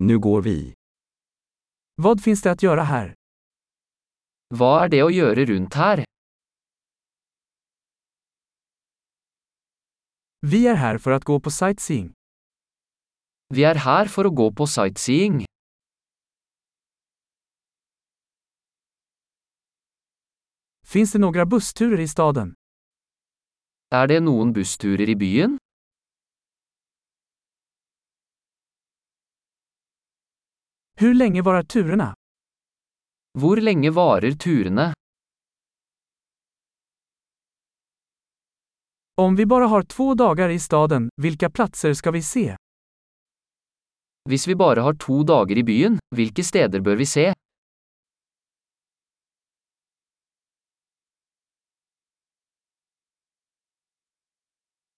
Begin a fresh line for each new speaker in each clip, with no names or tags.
Nu går vi.
Vad finns det att göra här?
Hva er det å gjøre rundt her?
Vi är här för att gå på sightseeing.
Vi er her for å gå på sightseeing.
Finns det några bussturer i staden?
Er det noen bussturer i byen?
Hur länge varar turerna?
Hvor lenge varer turene?
Om vi bara har två dagar i staden, vilka platser ska vi se?
Hvis vi bare har to dager i byen, hvilke steder bør vi se?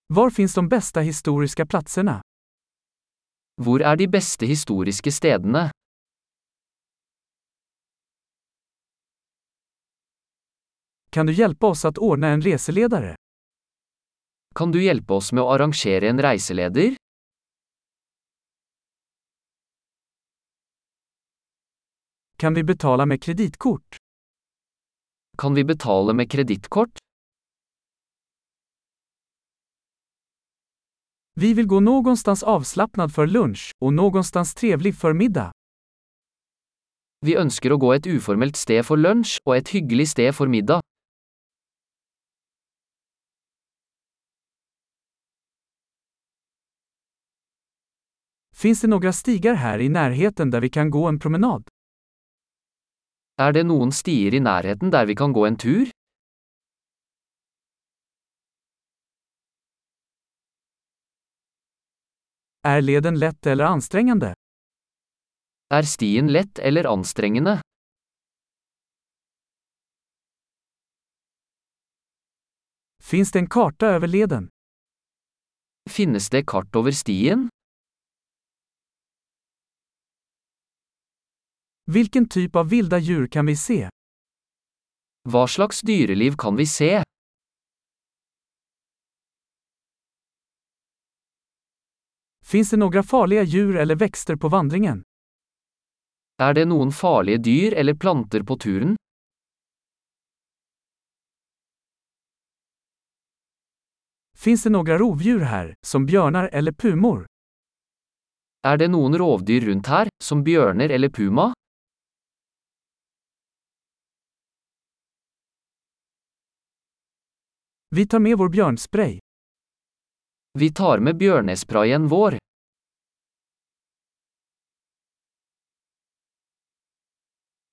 Var finns de bästa historiska platserna?
Hvor er de beste historiske stedene?
Kan du hjälpa oss att ordna en reseledare?
Kan du hjelpe oss med å arrangere en reiseleder?
Kan vi betala med kreditkort?
Kan vi betale med kredittkort?
Vi vill gå någonstans avslappnad för lunch och någonstans trevlig för middag.
Vi ønsker å gå et uformelt sted for lunsj og et hyggelig sted for middag.
Finns det några stigar här i närheten där vi kan gå en promenad?
Er det noen stier i nærheten der vi kan gå en tur?
Är leden lätt eller ansträngande?
Er stien lett eller anstrengende?
Finns det en karta över leden?
Finnes det kart over stien?
Vilken typ av vilda djur kan vi se?
Hva slags dyreliv kan vi se?
Finns det några farliga djur eller växter på vandringen?
Er det noen farlige dyr eller planter på turen?
Finns det några rovdjur här, som björnar eller pumor?
Er det noen rovdyr rundt her, som bjørner eller puma?
Vi tar med vår björnspray.
Vi tar med bjørnesprayen vår.